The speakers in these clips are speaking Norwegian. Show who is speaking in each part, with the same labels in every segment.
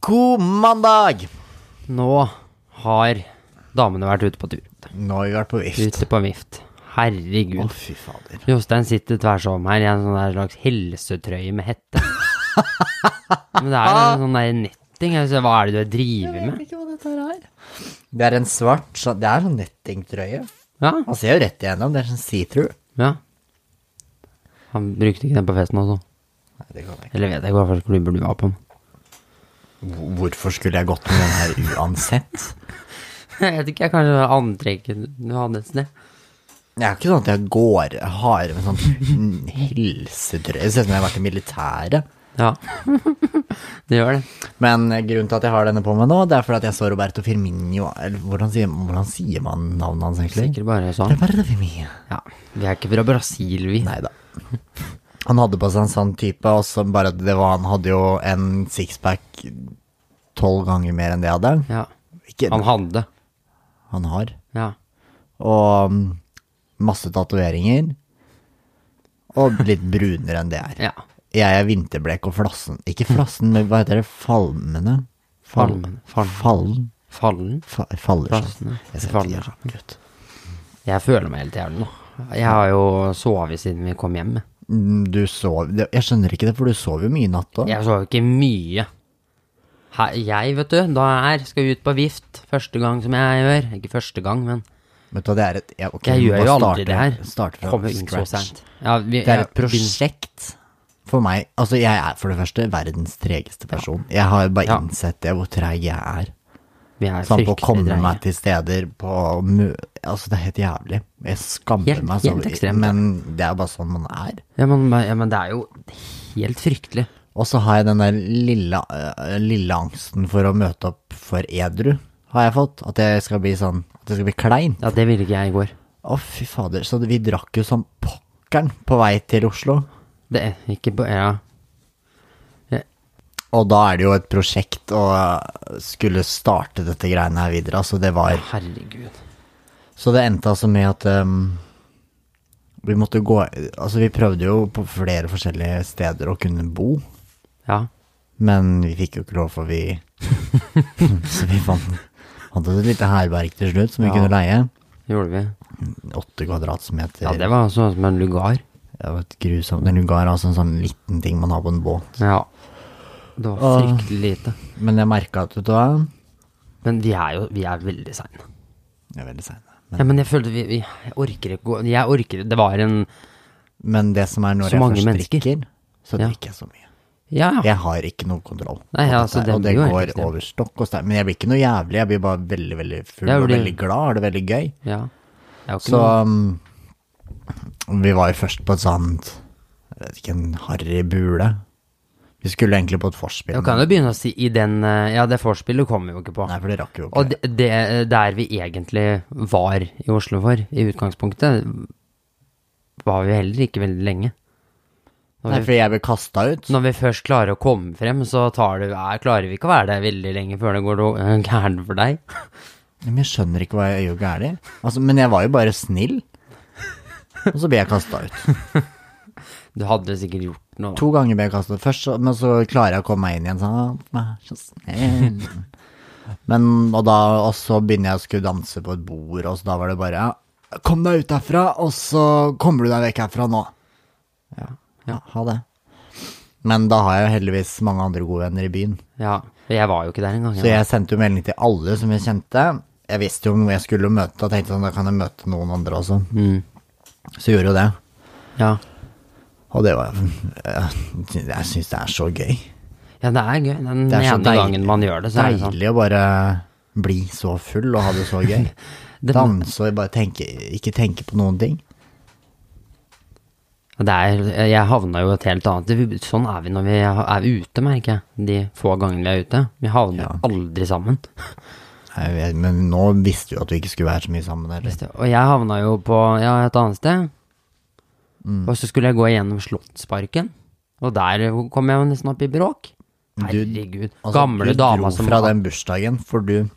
Speaker 1: God mandag!
Speaker 2: Nå har damene vært ute på tur.
Speaker 1: Nå har vi vært på vift.
Speaker 2: Ute på vift. Herregud.
Speaker 1: Å, fy fader.
Speaker 2: Jostein sitter tvers om her i en sånn der slags helsetrøye med hette. Men det er jo en sånn der netting. Altså, hva er det du driver med?
Speaker 1: ikke hva dette her er. Det er en svart så- Det er sånn nettingtrøye.
Speaker 2: Ja.
Speaker 1: Man ser jo rett igjennom. Det er sånn see-through.
Speaker 2: ja. Han brukte ikke den på festen også.
Speaker 1: Nei, det kan jeg
Speaker 2: Eller vet jeg ikke hva slags klubber du var på.
Speaker 1: ikke. Hvor- Hvorfor skulle jeg gått med den her uansett?
Speaker 2: Jeg vet ikke, jeg kanskje det var antrekket du hadde et sted.
Speaker 1: Det er jo ikke sånn at jeg går hardere med sånn helsetrøye. Det ser ut som jeg har vært i militæret.
Speaker 2: Ja. det gjør det.
Speaker 1: Men grunnen til at jeg har denne på meg nå, det er fordi at jeg så Roberto Firmino Eller hvordan sier, hvordan sier man navnet hans egentlig?
Speaker 2: Sikkert bare sånn.
Speaker 1: Roberto Firmino.
Speaker 2: Ja. Vi er ikke fra Brasil, vi.
Speaker 1: Nei da. Han hadde på seg en sånn type, og så bare det var Han hadde jo en sixpack tolv ganger mer enn det jeg hadde.
Speaker 2: Ja.
Speaker 1: Ikke,
Speaker 2: Han hadde.
Speaker 1: han har.
Speaker 2: Ja.
Speaker 1: Og mm, masse tatoveringer. Og litt brunere enn det er.
Speaker 2: Ja.
Speaker 1: Jeg er vinterblek og flassen Ikke flassen, men hva heter det? Falmende?
Speaker 2: Falmende.
Speaker 1: Fallen. Fallen.
Speaker 2: Fallen.
Speaker 1: Fa, faller sånn.
Speaker 2: Flassene.
Speaker 1: Jeg ser ikke
Speaker 2: Faller.
Speaker 1: sånn ut.
Speaker 2: Jeg føler meg helt jævlig nå. Jeg har jo sovet siden vi kom hjem.
Speaker 1: Mm, Du sov det- Jeg skjønner ikke det, for du sov jo mye i natt òg.
Speaker 2: Jeg sover ikke mye. Her, jeg, vet du, da jeg er, skal ut på vift. Første gang som jeg gjør. Ikke første gang, men
Speaker 1: Vet du hva, det er et ja, ok,
Speaker 2: jeg
Speaker 1: vi må
Speaker 2: gjør jo
Speaker 1: starte-
Speaker 2: aldri det her.
Speaker 1: Starte fra
Speaker 2: Kommer sånn. inn så
Speaker 1: scratch.
Speaker 2: sent. Ja, vi,
Speaker 1: Det er et
Speaker 2: jeg-
Speaker 1: prosjekt for meg. Altså, jeg er for det første verdens tregeste person. Jeg har bare
Speaker 2: Ja.
Speaker 1: innsett det, hvor treig jeg er.
Speaker 2: Vi er
Speaker 1: Sånn på å komme
Speaker 2: fryktelig
Speaker 1: meg
Speaker 2: dreie.
Speaker 1: til steder, på å mø... Altså, det er helt jævlig. Jeg skammer
Speaker 2: Helt-
Speaker 1: meg så
Speaker 2: helt ekstremt.
Speaker 1: Men det er bare sånn man er.
Speaker 2: Ja men, ja, men det er jo helt fryktelig.
Speaker 1: Og så har jeg den der lille, øh, lille angsten for å møte opp for edru, har jeg fått. At jeg skal bli sånn At jeg skal bli klein.
Speaker 2: Ja, det ville ikke jeg i går.
Speaker 1: Å, fy fader. Så vi drakk jo som pokkeren på vei til Oslo.
Speaker 2: Det er ikke på Ja.
Speaker 1: Og da er det jo et prosjekt å eh, skulle starte dette greiene her videre. Altså det var,
Speaker 2: Herregud.
Speaker 1: så det endte altså med at ehm, vi måtte gå Altså vi prøvde jo på flere forskjellige steder å kunne bo,
Speaker 2: Ja.
Speaker 1: men vi fikk jo ikke lov, for vi Så vi fant, fant et lite herberg til slutt som vi
Speaker 2: Ja.
Speaker 1: kunne leie.
Speaker 2: Gjorde vi.
Speaker 1: Åtte kvadratmeter.
Speaker 2: Ja, det var sånn som en lugar.
Speaker 1: det var et grusomt. En lugar, altså en sånn liten ting man har på en båt.
Speaker 2: Ja. Det var fryktelig lite.
Speaker 1: Men jeg merka at, vet du hva
Speaker 2: Men vi er jo vi er veldig seine.
Speaker 1: Jeg er veldig sein.
Speaker 2: Ja, men jeg følte vi, vi jeg orker ikke gå Jeg orker Det var en
Speaker 1: Men det som er når
Speaker 2: Så
Speaker 1: jeg
Speaker 2: mange
Speaker 1: først
Speaker 2: mennesker.
Speaker 1: drikker, så
Speaker 2: Ja.
Speaker 1: drikker jeg så mye.
Speaker 2: Ja, ja.
Speaker 1: Jeg har ikke noe kontroll. på
Speaker 2: Nei,
Speaker 1: dette
Speaker 2: ja, altså,
Speaker 1: her,
Speaker 2: det
Speaker 1: og det
Speaker 2: blir jo helt
Speaker 1: går
Speaker 2: ekstremt.
Speaker 1: over stokk og stein. Men jeg blir ikke noe jævlig, jeg blir bare veldig, veldig full
Speaker 2: Jeg
Speaker 1: og
Speaker 2: blir-
Speaker 1: veldig glad, har det veldig gøy.
Speaker 2: ja. Det er jo ikke
Speaker 1: Så
Speaker 2: noe
Speaker 1: um, vi var jo først på et sånt, jeg vet ikke, en harry bule. Vi skulle egentlig på et forspill.
Speaker 2: Jeg kan jo begynne å si i den eh, Ja, det forspillet kommer vi jo ikke på.
Speaker 1: Nei, for det rakk jo ikke.
Speaker 2: Og det, det der vi egentlig var i Oslo for, i utgangspunktet, var vi heller ikke veldig lenge. Når
Speaker 1: Nei,
Speaker 2: vi,
Speaker 1: for jeg ble kasta ut.
Speaker 2: når vi først klarer å komme frem, så tar det, er, klarer vi ikke å være der veldig lenge før det går do- eh, gærent for deg.
Speaker 1: Men jeg skjønner ikke hva jeg gjør gærent. Altså, men jeg var jo bare snill. Og så ble jeg kasta ut.
Speaker 2: Du hadde sikkert gjort noe.
Speaker 1: To ganger ble jeg kastet først, så- men så klarer jeg å komme meg inn igjen. Sånn, «Å, vær så snill. Men, og, da, og så begynner jeg å skulle danse på et bord, og så da var det bare ja, Kom deg ut herfra, og så kommer du deg vekk herfra nå.
Speaker 2: Ja.
Speaker 1: Ja, ha det. Men da har jeg jo heldigvis mange andre gode venner i byen.
Speaker 2: Ja, for jeg var jo ikke der engang.
Speaker 1: Så jeg sendte jo melding til alle som jeg kjente. Jeg visste jo om jeg skulle møte, og tenkte sånn, da kan jeg møte noen andre også. Så gjorde jeg jo det.
Speaker 2: Ja.
Speaker 1: Og det var Jeg syns det er så gøy.
Speaker 2: ja, det er gøy. Den
Speaker 1: Det er så
Speaker 2: ene
Speaker 1: deilig-
Speaker 2: gangen man gjør det, så er det sånn.
Speaker 1: Deilig å bare bli så full og ha det så gøy.
Speaker 2: Det-
Speaker 1: Danse og bare tenke, ikke tenke på noen ting.
Speaker 2: Det er, jeg havna jo et helt annet det- Sånn er vi når vi er ute, merker jeg. De få gangene vi er ute. Vi havner
Speaker 1: Ja.
Speaker 2: aldri sammen.
Speaker 1: Jeg vet, men nå visste du at vi ikke skulle være så mye sammen. Eller?
Speaker 2: Og jeg havna jo på ja, et annet sted. Og så skulle jeg gå gjennom Slottsparken, og der kom jeg jo nesten opp i bråk. Herregud.
Speaker 1: Altså,
Speaker 2: Gamle
Speaker 1: du
Speaker 2: dama
Speaker 1: dro
Speaker 2: som
Speaker 1: fra den bursdagen, for du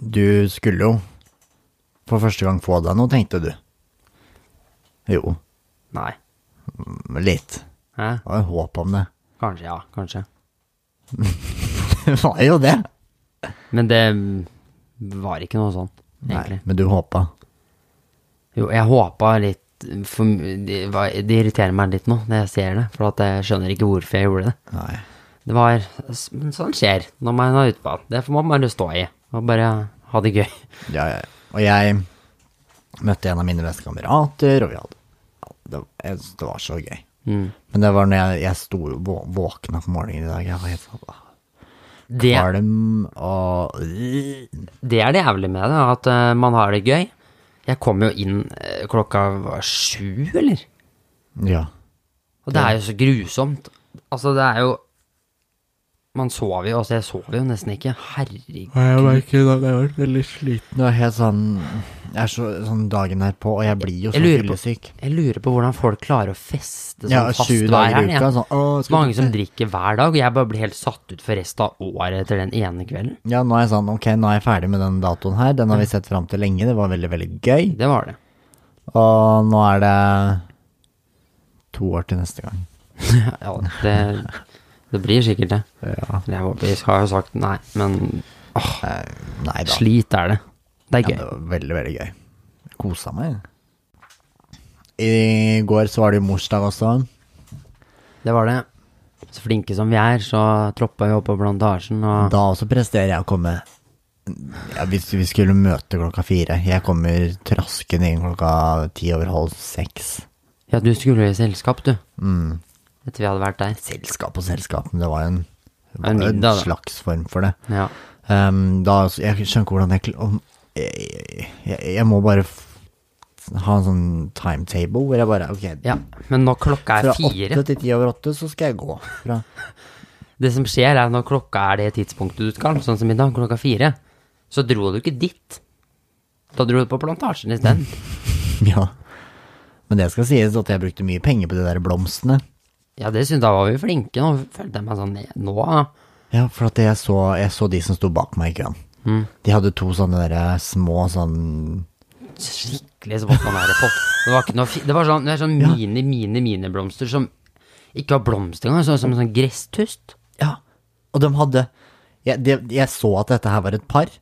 Speaker 1: Du skulle jo for første gang få deg noe, tenkte du. Jo,
Speaker 2: Nei.
Speaker 1: litt.
Speaker 2: Hæ?
Speaker 1: Det var jo håp om det.
Speaker 2: Kanskje, ja. Kanskje.
Speaker 1: Det var jo det.
Speaker 2: Men det var ikke noe sånn, egentlig.
Speaker 1: Nei, men du håpa.
Speaker 2: Jo, jeg håpa litt for, m- det, var, det irriterer meg litt nå når jeg ser det, for at jeg skjønner ikke hvorfor jeg gjorde det.
Speaker 1: Nei.
Speaker 2: Det var men Sånn skjer når man er ute på at Det får man bare stå i og bare ha det gøy.
Speaker 1: Ja, ja. ja. Og jeg møtte en av mine beste kamerater, og vi hadde ja, det, var- jeg synes det var så gøy.
Speaker 2: Mm.
Speaker 1: Men det var når jeg, jeg sto og vå- våkna på morgenen i dag. Jeg var helt sånn
Speaker 2: Det,
Speaker 1: kvalm og
Speaker 2: det er det jævlig med det, at eh, man har det gøy. Jeg kom jo inn eh, klokka var sju, eller?
Speaker 1: Ja.
Speaker 2: Og det er jo så grusomt. Altså, det er jo Man sover jo, altså jeg sover jo nesten ikke. Herregud.
Speaker 1: Jeg merker i dag jeg var veldig sliten. Det er helt sånn Jeg er så, sånn dagen her på, og jeg blir jo så
Speaker 2: Jeg lurer på-
Speaker 1: fyllesyk.
Speaker 2: Jeg lurer på hvordan folk klarer å feste sånn
Speaker 1: Ja,
Speaker 2: fast
Speaker 1: sju
Speaker 2: hver
Speaker 1: dager i
Speaker 2: helg.
Speaker 1: uka.
Speaker 2: jeg.
Speaker 1: Sånn, å,
Speaker 2: Så mange som
Speaker 1: skal du-
Speaker 2: drikker hver dag, og jeg bare blir helt satt ut for resten av året etter den ene kvelden.
Speaker 1: Ja, nå er jeg sånn, ok, nå er jeg ferdig med den datoen her. Den har vi sett fram til lenge. Det var veldig, veldig gøy.
Speaker 2: Det var det.
Speaker 1: Og nå er det to år til neste gang.
Speaker 2: Ja, det, det blir sikkert det.
Speaker 1: Ja.
Speaker 2: Eller Jeg håper jeg har jo sagt nei, men åh,
Speaker 1: Nei da.
Speaker 2: slit er det. Det er
Speaker 1: Ja,
Speaker 2: gøy.
Speaker 1: det var veldig, veldig gøy. Jeg Kosa meg. I går så var det jo morsdag også.
Speaker 2: Det var det. Så flinke som vi er, så troppa vi opp på plantasjen, og
Speaker 1: Da også presterer jeg å komme ja, Hvis vi skulle møte klokka fire Jeg kommer traskende inn klokka ti over halv seks.
Speaker 2: ja, du skulle jo i selskap, du.
Speaker 1: Mm.
Speaker 2: Etter vi hadde vært der.
Speaker 1: Selskap og selskap, men det var jo en, det var
Speaker 2: En
Speaker 1: jo en
Speaker 2: middag, da.
Speaker 1: slags form for det.
Speaker 2: Ja.
Speaker 1: Ehm, da, altså, jeg skjønner ikke hvordan jeg, kl- om, jeg, jeg Jeg må bare f ha en sånn timetable hvor jeg bare Ok,
Speaker 2: ja. Men når
Speaker 1: fra
Speaker 2: klokka er
Speaker 1: åtte
Speaker 2: fire
Speaker 1: til ti over åtte, så skal jeg gå. Fra,
Speaker 2: Det som skjer, er når klokka er det tidspunktet du skal, sånn som i dag, klokka fire, så dro du ikke dit. Da dro du på plantasjen isteden.
Speaker 1: ja. Men det skal sies at jeg brukte mye penger på de der blomstene.
Speaker 2: Ja, det syns jeg var vi flinke. Nå følte jeg meg sånn Nå
Speaker 1: Ja, for at jeg så, jeg så de som sto bak meg i køen.
Speaker 2: Mm.
Speaker 1: De hadde to sånne der eh, små sånn
Speaker 2: skikkelig så sånn her folk. Det var ikke noe fi- Det var sånn, det er sånn mini, mini, miniblomster som ikke var blomster engang, sånn som en sånn gresstust.
Speaker 1: Ja. Og de hadde jeg, de, jeg så at dette her var et par,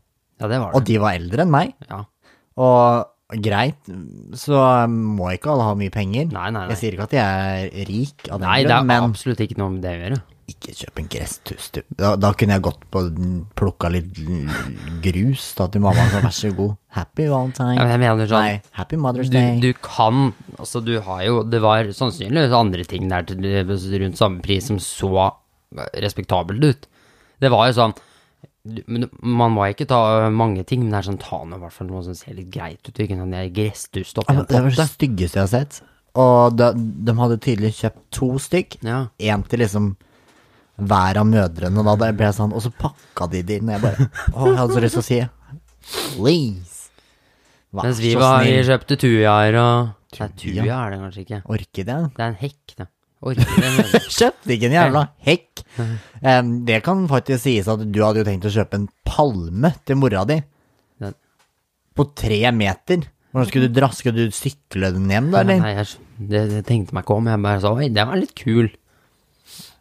Speaker 2: Ja, det var
Speaker 1: og
Speaker 2: det.
Speaker 1: de var eldre enn meg.
Speaker 2: Ja.
Speaker 1: Og greit, så eh, må ikke alle ha mye penger.
Speaker 2: Nei, nei, nei.
Speaker 1: Jeg sier ikke at jeg er rik, av den
Speaker 2: Nei, det
Speaker 1: grunn,
Speaker 2: er
Speaker 1: men
Speaker 2: absolutt ikke noe med det å gjøre.
Speaker 1: ikke kjøp en gresstust. du. Da, da kunne jeg gått på plukka litt grus da, til mamma, så vær så god. Happy valentine.
Speaker 2: Ja, men jeg mener sånn-
Speaker 1: Nei, happy mother's
Speaker 2: Du,
Speaker 1: day.
Speaker 2: du kan Altså, du har jo Det var sannsynligvis andre ting der til rundt samme pris som så respektabelt ut. Det var jo sånn du- men du- Man må ikke ta øh, mange ting, men det er sånn ta nå i hvert fall noe som ser litt greit ut. Ikke sånn der gresstust oppi
Speaker 1: Ja, men
Speaker 2: en
Speaker 1: det var det
Speaker 2: potte.
Speaker 1: styggeste jeg har sett. Og de, de hadde tydelig kjøpt to stykk.
Speaker 2: Ja.
Speaker 1: En til liksom hver av mødrene, da. Det ble sånn, og så pakka de det inn. og Jeg bare Å, jeg hadde så lyst til å si please. Vær
Speaker 2: Mens vi
Speaker 1: Ah, så
Speaker 2: var Vi
Speaker 1: snill.
Speaker 2: kjøpte tujaer og Nei,
Speaker 1: Tuja?
Speaker 2: tuja er det kanskje ikke.
Speaker 1: Orkidé?
Speaker 2: Det er en hekk, det. Orker
Speaker 1: Kjøpte ikke en jævla hekk. Em, det kan faktisk sies at du hadde jo tenkt å kjøpe en palme til mora di.
Speaker 2: Ja.
Speaker 1: På tre meter. Hvordan skulle du draske? Skulle du sykle den hjem, da, eller?
Speaker 2: Nei, jeg, det, det tenkte meg ikke om. Jeg bare sa oi, det var litt kul.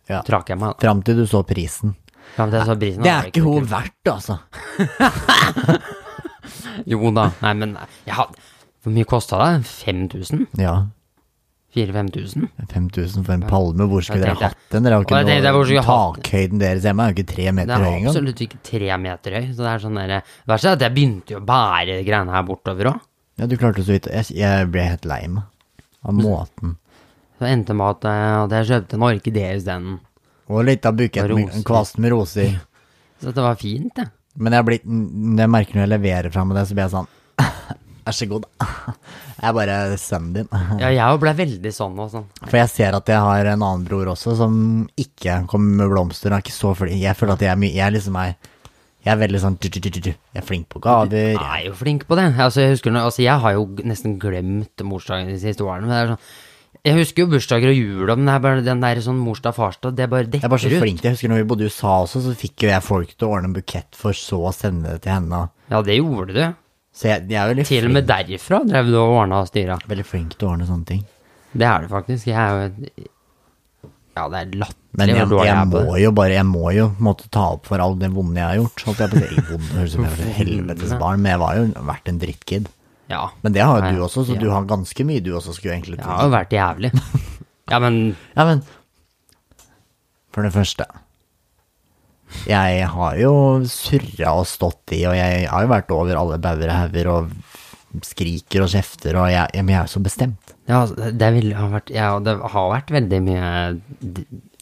Speaker 1: Ja.
Speaker 2: Trakk jeg meg, da.
Speaker 1: Fram til du så prisen.
Speaker 2: Ja, men det, så brisen,
Speaker 1: Det
Speaker 2: var
Speaker 1: er ikke
Speaker 2: noe
Speaker 1: hun verdt, altså.
Speaker 2: kult. Jo da. Nei, men jeg hadde Hvor mye kosta det? 5000?
Speaker 1: Ja.
Speaker 2: 4000-5000?
Speaker 1: 5000 for en palme, hvor skulle
Speaker 2: Jeg
Speaker 1: dere
Speaker 2: tenkte-
Speaker 1: hatt den? Dere har
Speaker 2: Og jeg
Speaker 1: ikke
Speaker 2: tenkte, hvor skulle
Speaker 1: noe
Speaker 2: jeg hatt den?
Speaker 1: Takhøyden deres hjemme er jo ikke tre
Speaker 2: Det
Speaker 1: meter
Speaker 2: er
Speaker 1: høy engang.
Speaker 2: absolutt ikke tre meter høy. Så det er sånn derre Verst er at jeg begynte jo å bære greiene her bortover òg.
Speaker 1: Ja, du klarte så vidt Jeg, jeg ble helt lei meg av måten.
Speaker 2: Så endte det med at, eh, at jeg kjøpte en orkidé isteden.
Speaker 1: Og litt av bukett med
Speaker 2: Roser.
Speaker 1: en kvast med roser.
Speaker 2: Så det var fint, det.
Speaker 1: Men jeg, blir, n- jeg merker når jeg leverer fram det, så blir jeg sånn Vær så god. Jeg er bare sønnen din.
Speaker 2: Ja, jeg ble veldig sånn og sånn.
Speaker 1: For jeg ser at jeg har en annen bror også som ikke kommer med blomster. Han er ikke så flink. Jeg føler at jeg er mye Jeg liksom er Jeg er veldig sånn du-du-du-du-du. Jeg er flink på gaver.
Speaker 2: Jeg er jo flink på det. Altså, jeg, husker, når- altså, jeg har jo g- nesten glemt morsdagen de siste årene. Men det er sånn, jeg husker jo bursdager og jul, og- men det er bare den der sånn morsdag-farsdag, det bare
Speaker 1: Jeg
Speaker 2: detter
Speaker 1: er bare så
Speaker 2: ut.
Speaker 1: flink. Jeg husker når vi bodde i USA også, så fikk jo jeg folk til å ordne en bukett for så å sende det til henne.
Speaker 2: Ja, det gjorde du.
Speaker 1: Så jeg, jeg er veldig
Speaker 2: Til og
Speaker 1: flink,
Speaker 2: med derifra drev du og ordna og styra.
Speaker 1: veldig flink til å ordne sånne ting.
Speaker 2: Det er du faktisk. Jeg er jo et Ja, det er
Speaker 1: Men
Speaker 2: latterlig
Speaker 1: jeg,
Speaker 2: hvor dårlig jeg
Speaker 1: jeg
Speaker 2: er på det.
Speaker 1: må jo bare Jeg må jo måtte ta opp for all det vonde jeg har gjort. Holdt jeg på å si. Vonde, høres ut som jeg var et helvetes barn, men jeg var jo vært en drittkid.
Speaker 2: Ja.
Speaker 1: Men det har jo
Speaker 2: Nei,
Speaker 1: du også, så
Speaker 2: ja.
Speaker 1: du har ganske mye du også skulle egentlig
Speaker 2: Jeg har jo vært jævlig. Ja, men
Speaker 1: Ja, men For det første Jeg har jo surra og stått i, og jeg har jo vært over alle bauger og hauger og skriker og kjefter, og jeg, men jeg er jo så bestemt.
Speaker 2: ja, det, vil, ha vært, ja, det har vært veldig mye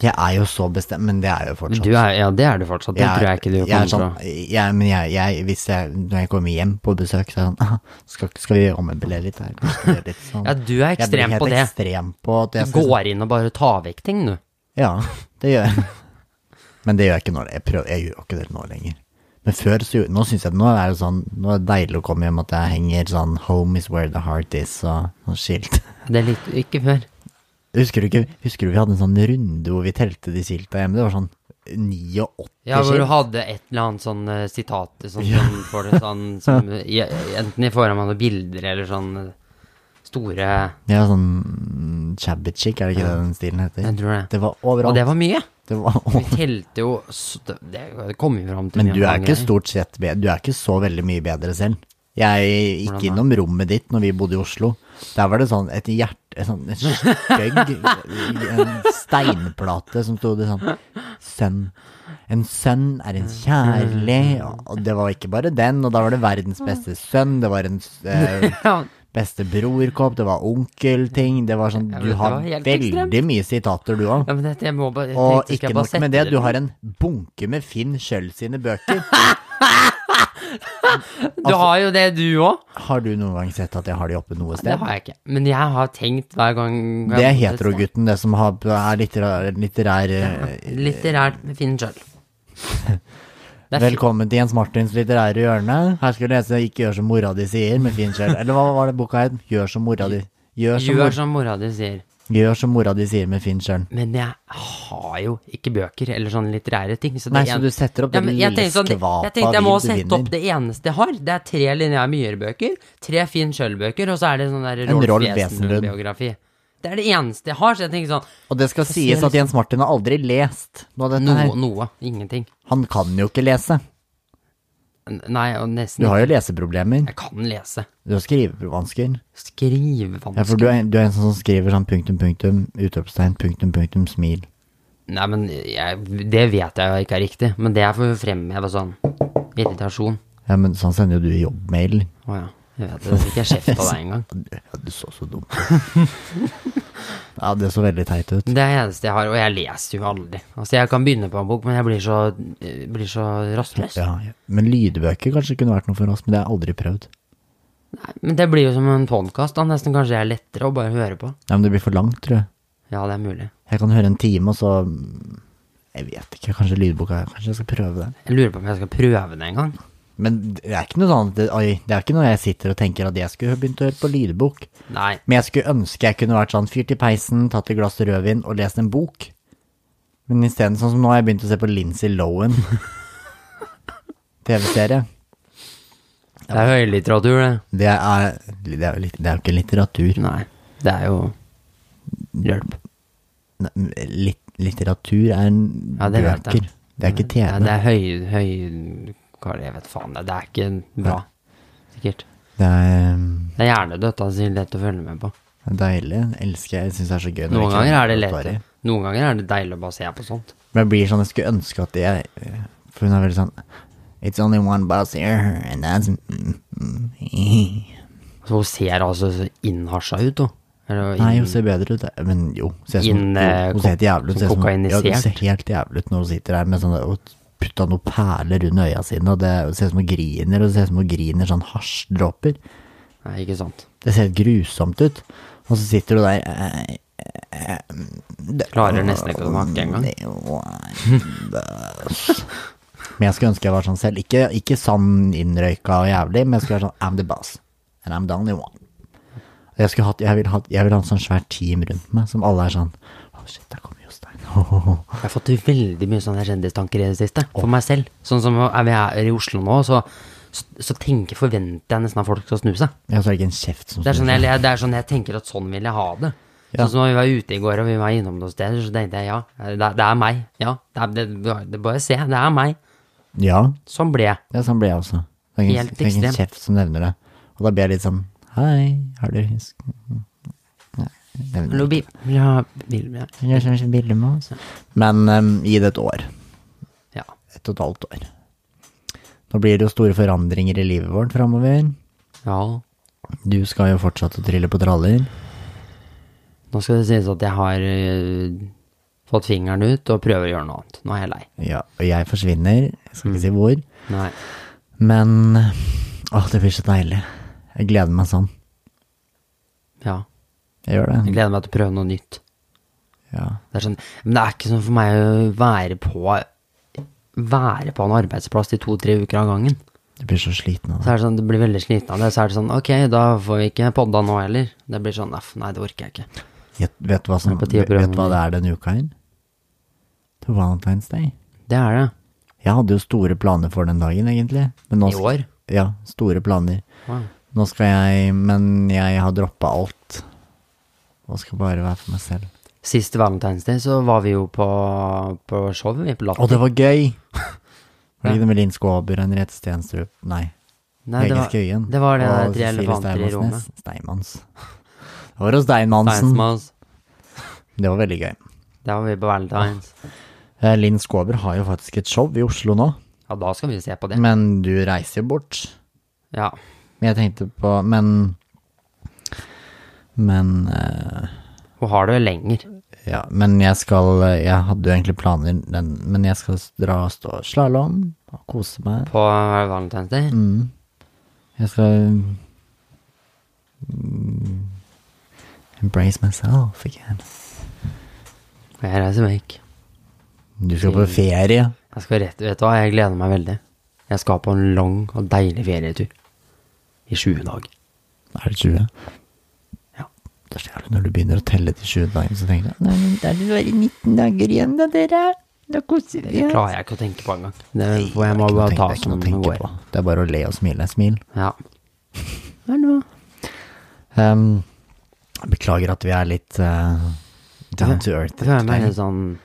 Speaker 1: Jeg er jo så bestemt, men det er jeg jo fortsatt.
Speaker 2: du er, Ja, det er du fortsatt. Det
Speaker 1: Jeg er-
Speaker 2: tror jeg ikke du
Speaker 1: jeg er
Speaker 2: kommer til å
Speaker 1: sånn, jeg, Men jeg, jeg, hvis jeg, når jeg kommer hjem på besøk, så er jeg sånn skal, skal vi ommøblere litt her? Skal vi gjøre litt sånn?
Speaker 2: Ja, du er
Speaker 1: Jeg blir
Speaker 2: ekstrem
Speaker 1: helt
Speaker 2: på det.
Speaker 1: ekstrem på at jeg skal
Speaker 2: Går inn og bare tar vekk ting, du.
Speaker 1: Ja, det gjør jeg. Men det gjør jeg ikke nå. Jeg, prøver, jeg gjør jo ikke det nå lenger. Men før så gjorde- Nå syns jeg nå er det sånn Nå er det deilig å komme hjem at jeg henger sånn 'Home is where the heart is' og sånn skilt.
Speaker 2: Det likte du ikke før.
Speaker 1: Husker du ikke Husker du vi hadde en sånn runde hvor vi telte de skilta hjemme? Det var sånn 89
Speaker 2: Ja, hvor du
Speaker 1: skilt.
Speaker 2: hadde et eller annet sånn eh, sitat sånn, som får det sånn som, i, Enten i form av noen bilder eller sånn eh, store
Speaker 1: Ja, sånn Chabby chick, er det ikke det den stilen
Speaker 2: Jeg
Speaker 1: heter?
Speaker 2: tror det.
Speaker 1: Det var
Speaker 2: Og
Speaker 1: overalt.
Speaker 2: det var mye.
Speaker 1: Det var
Speaker 2: Vi telte jo s- Det det kom vi fram til. eh.
Speaker 1: Men
Speaker 2: mye
Speaker 1: du er
Speaker 2: ganger.
Speaker 1: ikke stort sett bedre, du er ikke så veldig mye bedre selv. Jeg
Speaker 2: Hvordan
Speaker 1: gikk
Speaker 2: da?
Speaker 1: innom rommet ditt når vi bodde i Oslo. Der var det sånn et hjerte, et sånn en stygg en steinplate som stod det sånn Sønn. En sønn er en kjærlig Og det var ikke bare den, og da var det verdens beste sønn, det var en eh,
Speaker 2: Ja,
Speaker 1: beste brorkopp, det var onkelting, det var sånn
Speaker 2: Ja, men
Speaker 1: Du
Speaker 2: det
Speaker 1: har
Speaker 2: var helt ekstremt.
Speaker 1: veldig mye sitater, du òg.
Speaker 2: ja, men dette, jeg må bare jeg
Speaker 1: Og
Speaker 2: tenkte, skal
Speaker 1: ikke
Speaker 2: jeg bare
Speaker 1: nok med
Speaker 2: sette
Speaker 1: det, du har en bunke med Finn Kjøll sine bøker. altså
Speaker 2: Du har jo det, du òg.
Speaker 1: Har du noen gang sett at jeg har de oppe noe
Speaker 2: Det
Speaker 1: sted?
Speaker 2: har jeg ikke. Men jeg har tenkt hver gang
Speaker 1: Det er heterogutten, det som har, er litterær, litterær eh,
Speaker 2: Litterært med Finn sjøl.
Speaker 1: Velkommen til Jens Martins litterære hjørne. Her skal du lese 'Ikke gjør som mora di sier' med Finn Kjell. Eller hva var det boka het? 'Gjør som mora di'. Gjør som,
Speaker 2: Gjør
Speaker 1: mor,
Speaker 2: som mora di sier.
Speaker 1: gjør som mora di sier med Finn Kjell.
Speaker 2: Men jeg har jo ikke bøker eller sånne litterære ting. Så det
Speaker 1: Nei,
Speaker 2: en-
Speaker 1: så du setter opp
Speaker 2: ja,
Speaker 1: den
Speaker 2: men jeg
Speaker 1: lille
Speaker 2: tenkte sånn,
Speaker 1: skvapa
Speaker 2: Jeg tenkte jeg
Speaker 1: vin
Speaker 2: må
Speaker 1: du
Speaker 2: sette
Speaker 1: vinner.
Speaker 2: opp det eneste jeg har. Det er tre Linnea Myhre-bøker, tre Finn Schjøll-bøker, og så er det sånn der
Speaker 1: En
Speaker 2: Rolf
Speaker 1: Rolf Wesenlund.
Speaker 2: Wesenlund-biografi. Det er det eneste jeg har, så jeg tenker sånn
Speaker 1: Og det skal sies at Jens Martin har aldri lest noe av dette her.
Speaker 2: Noe, noe. Ingenting.
Speaker 1: Han kan jo ikke lese.
Speaker 2: N- Nei, og nesten
Speaker 1: Du har
Speaker 2: ikke.
Speaker 1: jo leseproblemer.
Speaker 2: Jeg kan lese.
Speaker 1: Du har skrivevansker. Ja, for
Speaker 2: Skrivevansker
Speaker 1: du er, du er en sånn som skriver sånn punktum, punktum, utropstegn, punktum, punktum, smil.
Speaker 2: Nei, men jeg, det vet jeg jo ikke er riktig. Men det er for å fremheve sånn irritasjon.
Speaker 1: Ja, men sånn sender jo du jobbmail.
Speaker 2: Å ja. Jeg vet det. Jeg fikk jeg kjeft av deg en gang.
Speaker 1: Ja, du så så dum Ja, det så veldig teit ut.
Speaker 2: Det er det eneste jeg har, og jeg leser jo aldri. Altså, jeg kan begynne på en bok, men jeg blir så, eh, blir så rastløs.
Speaker 1: Ja, ja. Men lydbøker kanskje kunne vært noe for oss, men det har jeg aldri prøvd.
Speaker 2: Nei, men det blir jo som en podkast, da. Nesten kanskje jeg er lettere å bare høre på.
Speaker 1: Nei, men det blir for langt, tror jeg.
Speaker 2: Ja, det er mulig.
Speaker 1: Jeg kan høre en time, og så Jeg vet ikke, kanskje lydboka Kanskje jeg skal prøve den.
Speaker 2: Jeg lurer på om jeg skal prøve det en gang.
Speaker 1: Men det er ikke noe sånn at det, Oi, det er ikke noe jeg sitter og tenker at jeg skulle begynt å høre på lydbok.
Speaker 2: Nei.
Speaker 1: Men jeg skulle ønske jeg kunne vært sånn fyrt i peisen, tatt et glass rødvin og lest en bok. Men isteden sånn som nå har jeg begynt å se på Lindsay Lohan. TV-serie.
Speaker 2: Det er høylitteratur, det.
Speaker 1: Det er, det, er, jo litt- det er jo ikke litteratur.
Speaker 2: Nei. Det er jo hjelp.
Speaker 1: Nei, Litt, litteratur er en
Speaker 2: Ja, det vet jeg.
Speaker 1: bøker. Det er ikke TV.
Speaker 2: Ja, det er høy... høy hva er det, jeg vet faen. Det er ikke bra. Sikkert.
Speaker 1: det er
Speaker 2: Det er hjernedødt, altså. Lett å følge med på.
Speaker 1: det er deilig. Jeg elsker jeg. syns det er så gøy. når
Speaker 2: Noen
Speaker 1: ikke
Speaker 2: ganger er det lett.
Speaker 1: varer.
Speaker 2: Noen ganger er det deilig å bare se på sånt.
Speaker 1: Men jeg blir sånn, jeg skulle ønske at jeg For hun er veldig sånn It's only one bus here, and that's
Speaker 2: Så hun ser altså så innhasja ut, da. Eller
Speaker 1: Nei,
Speaker 2: inn-
Speaker 1: hun ser bedre ut. Men jo, hun ser, som,
Speaker 2: Inn,
Speaker 1: jo,
Speaker 2: eh,
Speaker 1: hun ser helt jævlig ut.
Speaker 2: som
Speaker 1: ser som- ja,
Speaker 2: kokainisert.
Speaker 1: hun ser helt jævlig ut når hun sitter der med sånne og putta noen perler under øya sine, og det hun ser ut som hun griner, og det ser ut som hun griner sånn hasjdråper.
Speaker 2: Nei, ikke sant.
Speaker 1: Det ser helt grusomt ut. Og så sitter du der eh, eh, det-
Speaker 2: Klarer nesten ikke å snakke engang.
Speaker 1: Det var- Men jeg skulle ønske jeg var sånn selv. Ikke, ikke sånn innrøyka og jævlig, men jeg skulle være sånn I'm the boss, and I'm the only one. Og Jeg, skulle hatt, jeg, vil ha, jeg vil ha en sånn svært team rundt meg, som alle er sånn Å, shit, der kommer Jostein.
Speaker 2: Jeg har fått veldig mye sånne kjendistanker i det siste, for meg selv. Sånn som er vi er i Oslo nå, så, så, så tenker, forventer jeg nesten at folk skal snu seg.
Speaker 1: Jeg så er det ikke en kjeft som
Speaker 2: Det er, sånn
Speaker 1: snur seg.
Speaker 2: jeg, det er sånn jeg tenker at sånn vil jeg ha det.
Speaker 1: Ja.
Speaker 2: Sånn som når vi var ute i går og vi var innom noen steder, så tenkte jeg ja, det, det er meg. Ja, det, er- det, det bare se, det er meg.
Speaker 1: Ja,
Speaker 2: Sånn ble jeg.
Speaker 1: det er sånn blir jeg også. Det er ingen,
Speaker 2: Helt
Speaker 1: det er ingen
Speaker 2: ekstrem.
Speaker 1: kjeft som nevner det. Og da blir jeg litt sånn Hei, har du husk... Nei, jeg nevner
Speaker 2: Hallo,
Speaker 1: det.
Speaker 2: bil. Ja, bil, ja.
Speaker 1: Jeg har kanskje bilde med oss. Men em, gi det et år.
Speaker 2: ja.
Speaker 1: Et og et halvt år. Nå blir det jo store forandringer i livet vårt framover.
Speaker 2: Ja,
Speaker 1: Du skal jo fortsatt å trille på traller.
Speaker 2: nå skal det sies at jeg har øh, fått fingeren ut og prøver å gjøre noe annet. Nå er jeg lei.
Speaker 1: Ja, og jeg forsvinner. Jeg skal
Speaker 2: Mm.
Speaker 1: ikke si hvor.
Speaker 2: Nei.
Speaker 1: Men åh, det blir så deilig. Jeg gleder meg sånn.
Speaker 2: Ja.
Speaker 1: Jeg gjør
Speaker 2: Jeg
Speaker 1: det.
Speaker 2: gleder meg til å prøve noe nytt.
Speaker 1: Ja.
Speaker 2: Det er sånn, men det er ikke sånn for meg å være på Være på en arbeidsplass i to-tre uker av gangen.
Speaker 1: Jeg blir så sliten altså. av
Speaker 2: Så
Speaker 1: det.
Speaker 2: er det sånn, Du blir veldig sliten av det. Så er det sånn Ok, da får vi ikke podda nå heller. Det blir sånn Neff, nei, det orker jeg ikke.
Speaker 1: Jeg, vet, du hva som,
Speaker 2: Det er på tide å
Speaker 1: vet du
Speaker 2: prøve
Speaker 1: hva
Speaker 2: noe
Speaker 1: det er denne uka her? Det er Valentine's Day.
Speaker 2: Det er det.
Speaker 1: Jeg hadde jo store planer for den dagen, egentlig. Men nå,
Speaker 2: I år?
Speaker 1: Ja, store planer.
Speaker 2: Wow.
Speaker 1: Nå skal jeg Men jeg har droppa alt. Og skal bare være for meg selv.
Speaker 2: Sist Valentine's Day så var vi jo på, på show, vi, på
Speaker 1: Og
Speaker 2: Latter.
Speaker 1: det var gøy! Var det ikke det med Linn Skåber, Henriette Stenstrup Nei.
Speaker 2: Nei, det
Speaker 1: Hege
Speaker 2: var,
Speaker 1: Skøyen.
Speaker 2: det var det
Speaker 1: og
Speaker 2: der tre
Speaker 1: Cecilie
Speaker 2: elefanter i
Speaker 1: Steinmansnes.
Speaker 2: rommet.
Speaker 1: Steinmanns. Det var hos Steinmannsen.
Speaker 2: Steinsmas.
Speaker 1: Det var veldig gøy.
Speaker 2: Der var vi på Valentine's.
Speaker 1: Eh, Linn Skåber har jo faktisk et show i Oslo nå,
Speaker 2: Ja, da skal vi se på det.
Speaker 1: men du reiser jo bort.
Speaker 2: Ja.
Speaker 1: Men jeg tenkte på Men Men eh,
Speaker 2: Hun har det jo lenger.
Speaker 1: Ja, men jeg skal Jeg hadde jo egentlig planer, den, men jeg skal dra og stå slalåm og kose meg.
Speaker 2: På Valentine's Day.
Speaker 1: Mm. Jeg skal mm, Embrace myself again.
Speaker 2: Og jeg reiser vekk.
Speaker 1: Du skal på ferie.
Speaker 2: Jeg skal rett, vet du hva, jeg gleder meg veldig. Jeg skal på en lang og deilig ferietur. I 20 dag.
Speaker 1: Er det 20?
Speaker 2: Ja.
Speaker 1: Det er så jævlig når du begynner å telle til 20 dager, så tenker du Nei, men da er det bare 19 dager igjen, da, dere. Da koser vi
Speaker 2: Det
Speaker 1: oss.
Speaker 2: klarer jeg ikke å tenke på engang. Det er- For jeg må
Speaker 1: Det er
Speaker 2: bare
Speaker 1: ikke noe å tenke-
Speaker 2: ta
Speaker 1: det er ikke noe
Speaker 2: som
Speaker 1: å
Speaker 2: det
Speaker 1: tenke
Speaker 2: går.
Speaker 1: på. Det er bare å le og smile. Smil.
Speaker 2: Ja. Hallo.
Speaker 1: Ehm, jeg beklager at vi er litt eh, down to earth.
Speaker 2: Jeg føler meg
Speaker 1: Jeg
Speaker 2: helt sånn,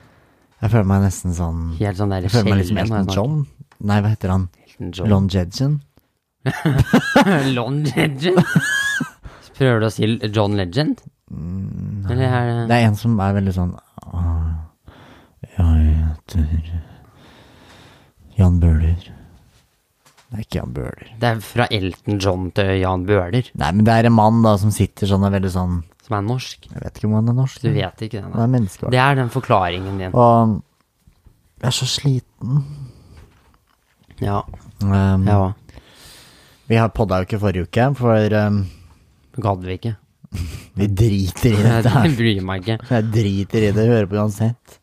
Speaker 1: føler meg nesten sånn
Speaker 2: helt sånn der
Speaker 1: Jeg føler meg litt som
Speaker 2: skjelven når jeg
Speaker 1: Elton
Speaker 2: snakker.
Speaker 1: John. Nei, hva heter han?
Speaker 2: Elton John.
Speaker 1: Lon Jedgen?
Speaker 2: Lon Legend. Prøver du å si John Legend? Eller er
Speaker 1: Mm, Det
Speaker 2: det
Speaker 1: er en som er veldig sånn «Åh, Jeg heter Jan Bøhler. Det er ikke Jan Bøhler.
Speaker 2: Det er fra Elton John til Jan Bøhler,
Speaker 1: Nei, men det er en mann da som sitter sånn og er veldig sånn
Speaker 2: som er norsk.
Speaker 1: Jeg vet ikke om han er norsk.
Speaker 2: Du vet ikke det,
Speaker 1: Han er
Speaker 2: Mm. nei.
Speaker 1: menneske.
Speaker 2: Det er den forklaringen din.
Speaker 1: Og jeg er så sliten.
Speaker 2: Ja,
Speaker 1: Um,
Speaker 2: jeg òg.
Speaker 1: Vi har podda jo ikke forrige uke, for um,
Speaker 2: Gadd vi ikke.
Speaker 1: vi driter i dette her.
Speaker 2: Jeg bryr meg ikke.
Speaker 1: Jeg driter i det, hører på uansett.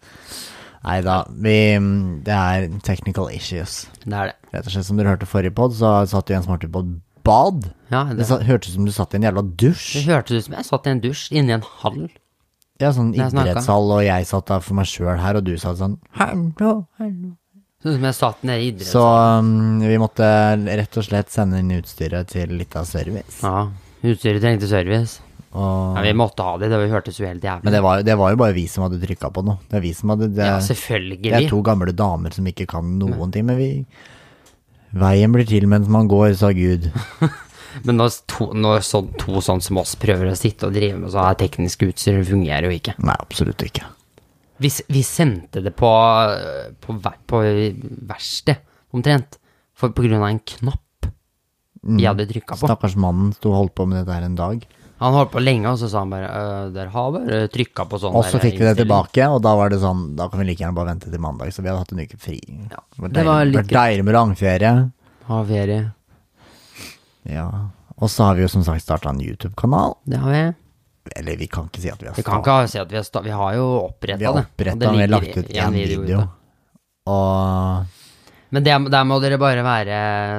Speaker 1: Nei da, vi um, Det er technical issues.
Speaker 2: Det er det.
Speaker 1: Rett og slett som dere hørte forrige pod, så satt jo en som hørte på et bad.
Speaker 2: Ja, det,
Speaker 1: Det sa, hørtes ut som du satt i en jævla
Speaker 2: det
Speaker 1: dusj.
Speaker 2: hørtes ut som jeg satt i en dusj inni en hall.
Speaker 1: Ja, sånn
Speaker 2: jeg snakket.
Speaker 1: idrettshall, og jeg satt der for meg sjøl her, og du satt sånn Hallo, hallo.
Speaker 2: Sånn som jeg satt nede i idretts...
Speaker 1: Så um, vi måtte rett og slett sende inn utstyret til litt av service.
Speaker 2: Ja, utstyret trengte service.
Speaker 1: Og,
Speaker 2: Ja, vi måtte ha det, det hørtes jo helt
Speaker 1: men
Speaker 2: jævlig.
Speaker 1: det var, det var jo bare vi som hadde trykka på noe. Det er vi som hadde det,
Speaker 2: Ja,
Speaker 1: det er
Speaker 2: selvfølgelig.
Speaker 1: to gamle damer som ikke kan noen ting, men vi Veien blir til mens man går, sa Gud.
Speaker 2: Men når to, når sånn, to sånn som oss prøver å sitte og drive med sånn her teknisk utstyr, det fungerer jo ikke.
Speaker 1: Nei, absolutt ikke.
Speaker 2: Vi, s- vi sendte det på, øh, på, ver- på verksted, omtrent, for, på grunn av en knapp vi hadde trykka på.
Speaker 1: Mm. Stakkars mannen sto og holdt på med dette her en dag.
Speaker 2: Han holdt på lenge, og så sa han bare øh, Dere har bare trykka på sånn
Speaker 1: Og så
Speaker 2: der
Speaker 1: fikk vi det
Speaker 2: innstilling.»
Speaker 1: tilbake, og da var det sånn Da kan vi like gjerne bare vente til mandag, så vi hadde hatt en uke fri.
Speaker 2: det var litt
Speaker 1: det var deilig med langferie.
Speaker 2: Ha ferie.
Speaker 1: Ja. Og så har vi jo som sagt starta en YouTube-kanal.
Speaker 2: Det har vi.
Speaker 1: Eller vi kan ikke si at vi har
Speaker 2: Vi kan
Speaker 1: startet.
Speaker 2: ikke si at vi har, sta vi har jo oppretta det.
Speaker 1: Vi har
Speaker 2: og
Speaker 1: oppretta
Speaker 2: det
Speaker 1: den, vi har
Speaker 2: ligger
Speaker 1: lagt ut
Speaker 2: i en
Speaker 1: én video.
Speaker 2: ute.
Speaker 1: Og
Speaker 2: Men det, der må dere bare være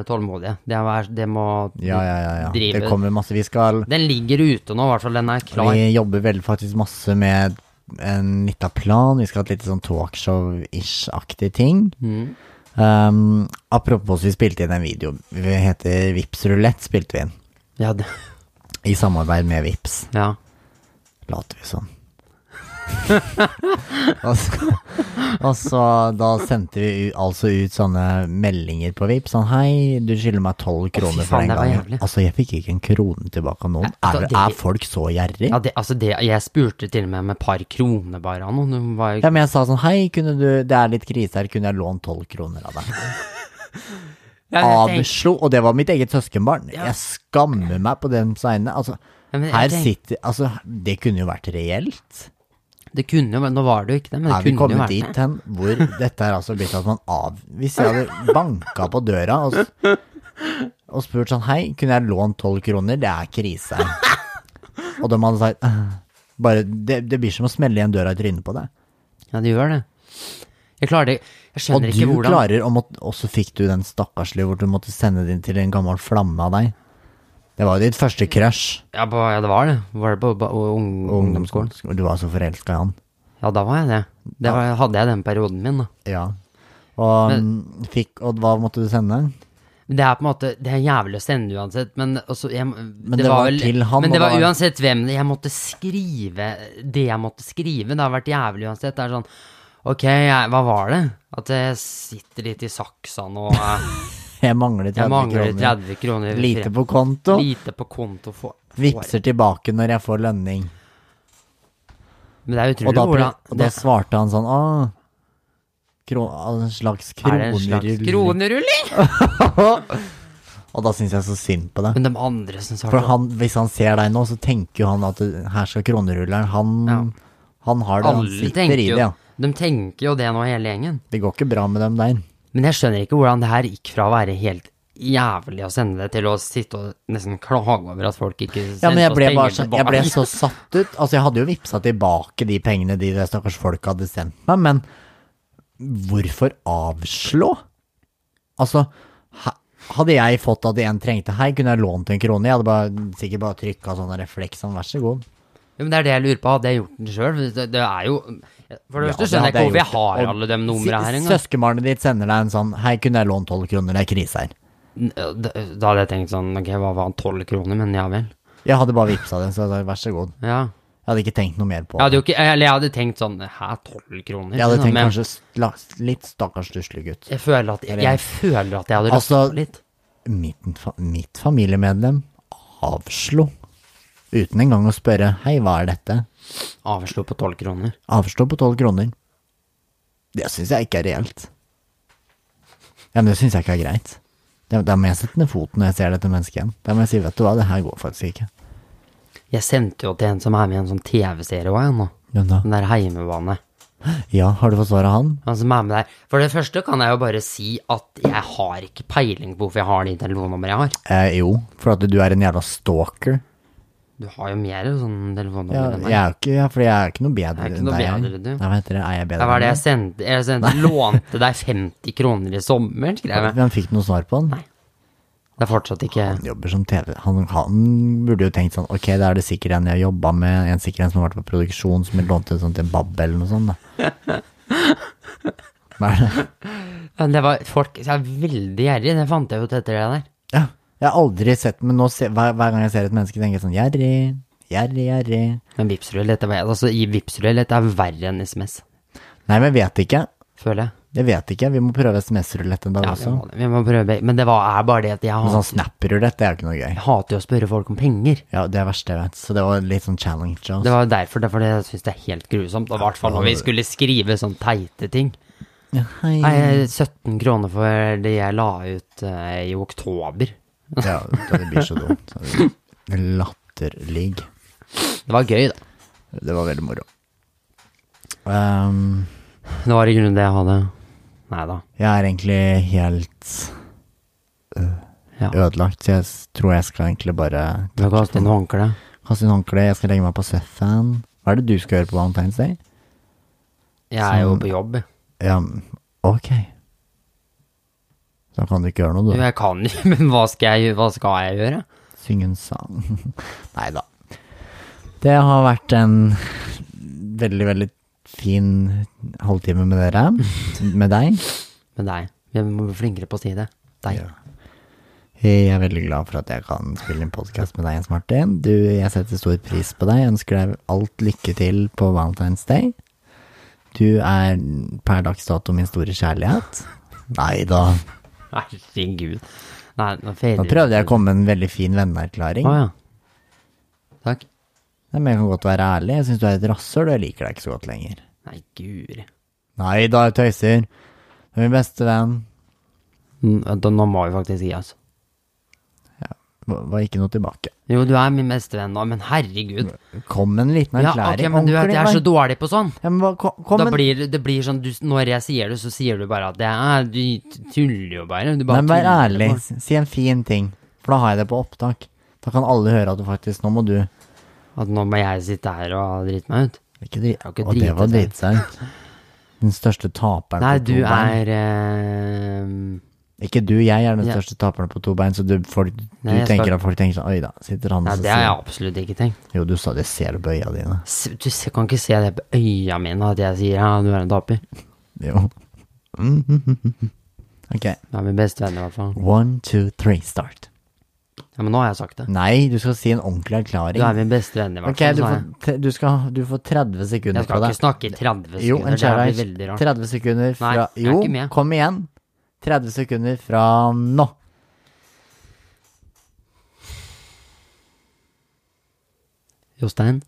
Speaker 2: tålmodige. Det, er, det må
Speaker 1: Ja, ja, ja. ja.
Speaker 2: Drive.
Speaker 1: Det kommer masse. Vi skal
Speaker 2: Den ligger ute nå, i hvert fall. Den er klar.
Speaker 1: Vi jobber veldig faktisk masse med en lita plan. Vi skal ha et lite sånn talkshow-ish-aktig ting.
Speaker 2: Mm.
Speaker 1: Um, apropos, vi spilte inn en video. Vi heter Vips Rulett, spilte vi inn.
Speaker 2: Ja, det,
Speaker 1: I samarbeid med Vips,
Speaker 2: ja.
Speaker 1: later vi som. og, så, og så da sendte vi u- altså ut sånne meldinger på Vipps sånn Hei, du skylder meg tolv kroner for
Speaker 2: faen,
Speaker 1: den
Speaker 2: det var
Speaker 1: gangen.
Speaker 2: jævlig.
Speaker 1: Altså, jeg fikk ikke en krone tilbake av noen.
Speaker 2: Nei,
Speaker 1: Er,
Speaker 2: altså, det-
Speaker 1: er folk så gjerrig?
Speaker 2: Ja, det, altså det, jeg spurte til og med om et par kroner bare av noen. Hun var
Speaker 1: Ja, men jeg sa sånn Hei, kunne du Det er litt krise her, kunne jeg lånt tolv kroner av deg?
Speaker 2: Ja, men jeg tenk-
Speaker 1: Avslo, og det var mitt eget søskenbarn. Jeg skammer meg på dens vegne. Altså,
Speaker 2: Ja, men jeg
Speaker 1: her
Speaker 2: tenk-
Speaker 1: sitter Altså, det kunne jo vært reelt.
Speaker 2: Det kunne jo vært Nå var det jo ikke det, men det
Speaker 1: Er vi
Speaker 2: kunne jo
Speaker 1: kommet
Speaker 2: vært det.
Speaker 1: dit hen hvor dette er altså blitt at man av... Hvis jeg hadde banka på døra og, s- og spurt sånn Hei, kunne jeg lånt tolv kroner? Det er krise. Og de hadde sagt «Øh», bare, det, det blir som å smelle igjen døra i trynet på deg.
Speaker 2: Ja, det gjør det. Jeg klarer det Jeg
Speaker 1: Og
Speaker 2: skjønner
Speaker 1: du
Speaker 2: ikke hvordan
Speaker 1: klarer å måtte Og så fikk du den stakkarslige hvor du måtte sende den til en gammel flamme av deg. Det var jo ditt første crush.
Speaker 2: ja, på, ja, det var det. Var det på, på, ung, ungdomsskolen?
Speaker 1: Du var så forelska i han.
Speaker 2: Ja, da var jeg det. Det var, hadde jeg den perioden min, da.
Speaker 1: Ja. Og, fikk, og hva måtte du sende?
Speaker 2: Men Det er på en måte Det er jævlig å sende uansett, men også jeg, Men
Speaker 1: det var til han,
Speaker 2: Men
Speaker 1: og
Speaker 2: det var
Speaker 1: det var-
Speaker 2: uansett hvem det- Jeg måtte skrive det jeg måtte skrive. Det har vært jævlig uansett. Det er sånn Ok, jeg, hva var det? At jeg sitter litt i saksa nå. eh, Jeg,
Speaker 1: Jeg mangler 30
Speaker 2: jeg mangler
Speaker 1: kroner.
Speaker 2: 30 kroner.
Speaker 1: Lite på konto.
Speaker 2: Lite på konto for
Speaker 1: Vipser tilbake når jeg får lønning.
Speaker 2: Men det er
Speaker 1: Og da, prøv-
Speaker 2: utrolig hvordan
Speaker 1: og da
Speaker 2: det-
Speaker 1: svarte han sånn Åh, kro, en slags
Speaker 2: Er det en slags
Speaker 1: kronerull.
Speaker 2: kronerulling?
Speaker 1: Og da syns jeg så synd på deg.
Speaker 2: Men de andre som svarte
Speaker 1: For han, hvis han ser deg nå, så tenker jo han at du, her skal kronerulleren Han,
Speaker 2: Ja.
Speaker 1: han har det. Han
Speaker 2: Alle
Speaker 1: sitter
Speaker 2: tenker
Speaker 1: i det,
Speaker 2: jo
Speaker 1: ja.
Speaker 2: De tenker jo det nå, hele gjengen.
Speaker 1: Det går ikke bra med dem der.
Speaker 2: Men jeg skjønner ikke hvordan det her gikk fra å være helt jævlig å sende det, til å sitte og nesten klage over at folk ikke
Speaker 1: Ja, men jeg ble, bare, så-
Speaker 2: penger
Speaker 1: jeg ble så satt ut. Altså, jeg hadde jo vippsa tilbake de pengene de der stakkars folk hadde sendt meg, men hvorfor avslå? Altså, ha- hadde jeg fått at en trengte Hei, kunne jeg lånt en krone? Jeg hadde bare, sikkert bare trykka sånn refleks sånn, vær så god.
Speaker 2: Ja, men det er det jeg lurer på. Hadde jeg gjort det sjøl? Det, det er jo For det
Speaker 1: Ja,
Speaker 2: første
Speaker 1: det
Speaker 2: skjønner
Speaker 1: hadde
Speaker 2: jeg ikke
Speaker 1: jeg
Speaker 2: hvorfor jeg
Speaker 1: gjort.
Speaker 2: har
Speaker 1: Og
Speaker 2: alle de numrene her
Speaker 1: Si-
Speaker 2: engang.
Speaker 1: Søskenbarnet ditt sender deg en sånn Hei, kunne jeg lånt tolv kroner? Det er krise her.
Speaker 2: Da da hadde jeg tenkt sånn Ok, hva var han, tolv kroner? Men ja vel.
Speaker 1: Jeg hadde bare vippsa den, så jeg sa, vær så god.
Speaker 2: Ja.
Speaker 1: Jeg hadde ikke tenkt noe mer på
Speaker 2: Jeg hadde
Speaker 1: det.
Speaker 2: jo ikke Eller jeg hadde tenkt sånn Hæ, tolv kroner?
Speaker 1: Jeg hadde tenkt
Speaker 2: men
Speaker 1: kanskje sla- litt stakkars stusslig gutt.
Speaker 2: jeg føler, at, jeg føler at jeg hadde røpt
Speaker 1: Altså,
Speaker 2: litt.
Speaker 1: mitt, mitt familiemedlem avslo. Uten engang å spørre 'hei, hva er dette?'
Speaker 2: Avslo på tolv kroner.
Speaker 1: Avslo på tolv kroner. Det syns jeg ikke er reelt. Ja, men det syns jeg ikke er greit. Da da må jeg sette ned foten når jeg ser dette mennesket igjen. Da må jeg si 'vet du hva, det her går faktisk ikke'.
Speaker 2: Jeg sendte jo til en som er med i en sånn TV-serie òg, jeg nå.
Speaker 1: Men da,
Speaker 2: Den der heimebane.
Speaker 1: ja, har du fått svar av han?
Speaker 2: Han som er med der. For det første kan jeg jo bare si at jeg har ikke peiling på hvorfor jeg har de telefonnummeret jeg har.
Speaker 1: Eh, jo, for at du er en jævla stalker.
Speaker 2: Du har jo mer sånn
Speaker 1: Ja,
Speaker 2: telefonnummer enn meg.
Speaker 1: jeg er jo ikke, ja, for jeg er ikke noe bedre
Speaker 2: Jeg er ikke noe
Speaker 1: jeg.
Speaker 2: bedre, du.
Speaker 1: Nei, hva heter det, er jeg bedre
Speaker 2: Det var det
Speaker 1: enn
Speaker 2: jeg sendte. Jeg sendte, lånte deg 50 kroner i sommer, skrev
Speaker 1: deg?
Speaker 2: jeg.
Speaker 1: Men fikk du noe svar på han?
Speaker 2: Det er fortsatt ikke
Speaker 1: Han jobber som TV. Han, han burde jo tenkt sånn, ok, da er det sikkert en jeg har jobba med, en sikkert en som har vært på produksjon, som jeg lånte sånn til Babb eller noe sånt. da. Hva er det?
Speaker 2: Men det var folk som er veldig gjerrige, det fant jeg ut etter det der.
Speaker 1: Ja, jeg har aldri sett men nå se, hver, hver gang jeg ser et menneske, tenker jeg sånn, gjerrig, gjerrig, gjerrig.
Speaker 2: Men Vipps-rulett er, altså, i Vipps-rulett er verre enn SMS,
Speaker 1: Nei, men jeg vet ikke.
Speaker 2: føler jeg.
Speaker 1: Jeg vet ikke, vi må prøve SMS-rulett en dag
Speaker 2: Ja, vi,
Speaker 1: også.
Speaker 2: må, vi må prøve. Men det var, er bare det at jeg
Speaker 1: Men
Speaker 2: hater,
Speaker 1: sånn Snap-rulett, det er jo ikke noe gøy.
Speaker 2: jeg hater jo å spørre folk om penger.
Speaker 1: Ja, det er verste jeg vet, så det var litt sånn challenge. Også.
Speaker 2: Det var jo derfor, derfor jeg syns det er helt grusomt. Og i hvert fall når vi skulle skrive sånn teite ting.
Speaker 1: Ja, hei.
Speaker 2: Nei, 17 kroner for det jeg la ut eh, i oktober.
Speaker 1: Ja, det blir så dumt. Latterlig.
Speaker 2: Det var gøy, da.
Speaker 1: Det var veldig moro. Ehm,
Speaker 2: Det var i grunnen det jeg hadde. Nei da.
Speaker 1: jeg er egentlig helt øh,
Speaker 2: Ja.
Speaker 1: ødelagt, så jeg s- tror jeg skal egentlig bare
Speaker 2: Du har kastet inn håndkle.
Speaker 1: kaste inn håndkleet. Jeg skal legge meg på sofaen. Hva er det du skal gjøre på Valentine's Day?
Speaker 2: Jeg er jo på jobb.
Speaker 1: Ja, ok. Da kan du ikke gjøre noe,
Speaker 2: Jo,
Speaker 1: du.
Speaker 2: jeg kan jo, men hva skal jeg, gjø- hva skal jeg gjøre?
Speaker 1: Synge en sang. Nei da. Det har vært en veldig, veldig fin halvtime med dere. Med deg.
Speaker 2: Med deg. Vi må bli flinkere på å si det. Deg.
Speaker 1: Ja. Jeg er veldig glad for at jeg kan spille en podkast med deg, Jens Martin. Du, jeg setter stor pris på deg. Jeg ønsker deg alt lykke til på Valentine's Day. Du er per dags dato min store kjærlighet. Nei da.
Speaker 2: Herregud. Nei, nå
Speaker 1: Nå prøvde jeg å komme med en veldig fin venneerklæring.
Speaker 2: Å ja. Takk.
Speaker 1: Nei, Men jeg kan godt være ærlig. Jeg syns du er et rasshøl, og jeg liker deg ikke så godt lenger.
Speaker 2: Nei, guri.
Speaker 1: Nei da, jeg tøyser. Du er min beste venn.
Speaker 2: N- da- Nå må vi faktisk altså. gi oss.
Speaker 1: Var var ikke noe tilbake.
Speaker 2: Jo, du er min beste venn nå, men herregud.
Speaker 1: Kom med en liten
Speaker 2: Ja,
Speaker 1: erklæring.
Speaker 2: ok, men du vet, jeg er så dårlig på sånn.
Speaker 1: ja, men hva- kom, kom
Speaker 2: Da
Speaker 1: med-
Speaker 2: blir det- det blir sånn, du, når jeg sier det, så sier du bare at det er, du tuller jo bare. Du bare
Speaker 1: Nei, men vær
Speaker 2: tuller
Speaker 1: ærlig.
Speaker 2: bare.
Speaker 1: Si en fin ting, for da har jeg det på opptak. Da kan alle høre at du faktisk Nå må du
Speaker 2: At nå må jeg sitte her og drite meg ut.
Speaker 1: Ikke dri...
Speaker 2: har ikke
Speaker 1: Og det
Speaker 2: driti
Speaker 1: var
Speaker 2: seg.
Speaker 1: dritsaut. Den største taperen
Speaker 2: Nei,
Speaker 1: på to
Speaker 2: du
Speaker 1: bein.
Speaker 2: er eh,
Speaker 1: Ikke du, jeg er den
Speaker 2: Ja.
Speaker 1: største taperen på to bein, så du, folk, du
Speaker 2: Nei, jeg
Speaker 1: tenker
Speaker 2: skal-
Speaker 1: at folk tenker sånn Oi da, sitter han
Speaker 2: Nei,
Speaker 1: og
Speaker 2: det har jeg
Speaker 1: sier
Speaker 2: absolutt ikke tenkt.
Speaker 1: Jo, du sa det, ser du på øya dine?
Speaker 2: Se- Du se- kan ikke se det på øya mine at jeg sier ja, du er en taper.
Speaker 1: Jo. ok.
Speaker 2: Du er min beste venn i hvert fall.
Speaker 1: One, two, three, start.
Speaker 2: Ja, men nå har jeg sagt det.
Speaker 1: Nei, du skal si en ordentlig erklæring.
Speaker 2: Du er min beste venn i hvert
Speaker 1: Ok,
Speaker 2: fall.
Speaker 1: du
Speaker 2: sa
Speaker 1: får,
Speaker 2: jeg.
Speaker 1: te- du, skal, du får 30 sekunder på
Speaker 2: sånn Jeg skal
Speaker 1: deg.
Speaker 2: ikke snakke i 30 sekunder.
Speaker 1: Jo, en
Speaker 2: det her blir
Speaker 1: challenge.
Speaker 2: veldig rart.
Speaker 1: 30 sekunder fra
Speaker 2: Nei, jeg er
Speaker 1: Jo,
Speaker 2: ikke med.
Speaker 1: kom igjen. 30 sekunder fra nå.
Speaker 2: Jostein?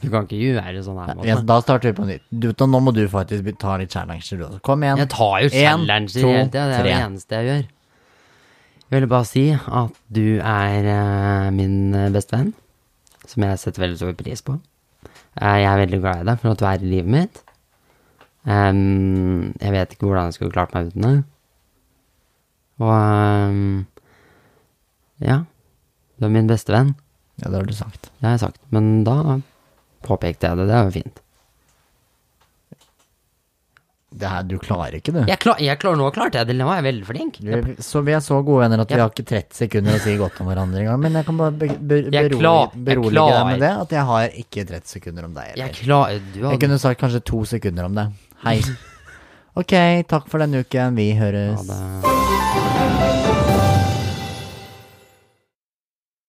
Speaker 2: Du kan ikke gjøre sånn her.
Speaker 1: Ja,
Speaker 2: Måte.
Speaker 1: da starter vi på nytt. Du, da- nå må du faktisk be- ta litt challenger, du også. Kom igjen.
Speaker 2: Jeg tar jo
Speaker 1: En,
Speaker 2: challenger
Speaker 1: to,
Speaker 2: hele tida. Det er det
Speaker 1: tre.
Speaker 2: eneste jeg gjør. Jeg ville bare si at du er eh, min eh, beste venn, som jeg setter veldig stor pris på. Eh, jeg er veldig glad i deg for at du er i livet mitt. Em, jeg vet ikke hvordan jeg skulle klart meg uten deg. Og em, ja. Du er min beste venn.
Speaker 1: Ja, det har du sagt.
Speaker 2: Det har jeg sagt, men da påpekte jeg det. Det er jo fint.
Speaker 1: Det her, du klarer ikke, du.
Speaker 2: Jeg klar, jeg klar, nå klarte jeg det, nå er jeg veldig flink. Jeg,
Speaker 1: Vi- Så vi er så gode venner at vi
Speaker 2: Ja.
Speaker 1: har ikke 30 sekunder å si godt om hverandre engang. Men jeg kan bare be, be,
Speaker 2: Jeg
Speaker 1: berolige,
Speaker 2: klar- jeg
Speaker 1: berolige deg
Speaker 2: klarer.
Speaker 1: med det, at jeg har ikke 30 sekunder om deg
Speaker 2: jeg
Speaker 1: heller.
Speaker 2: klar, du
Speaker 1: Jeg
Speaker 2: hadde,
Speaker 1: kunne sagt kanskje to sekunder om det. Hei. Ok, takk for denne uken. Vi høres.
Speaker 2: hadde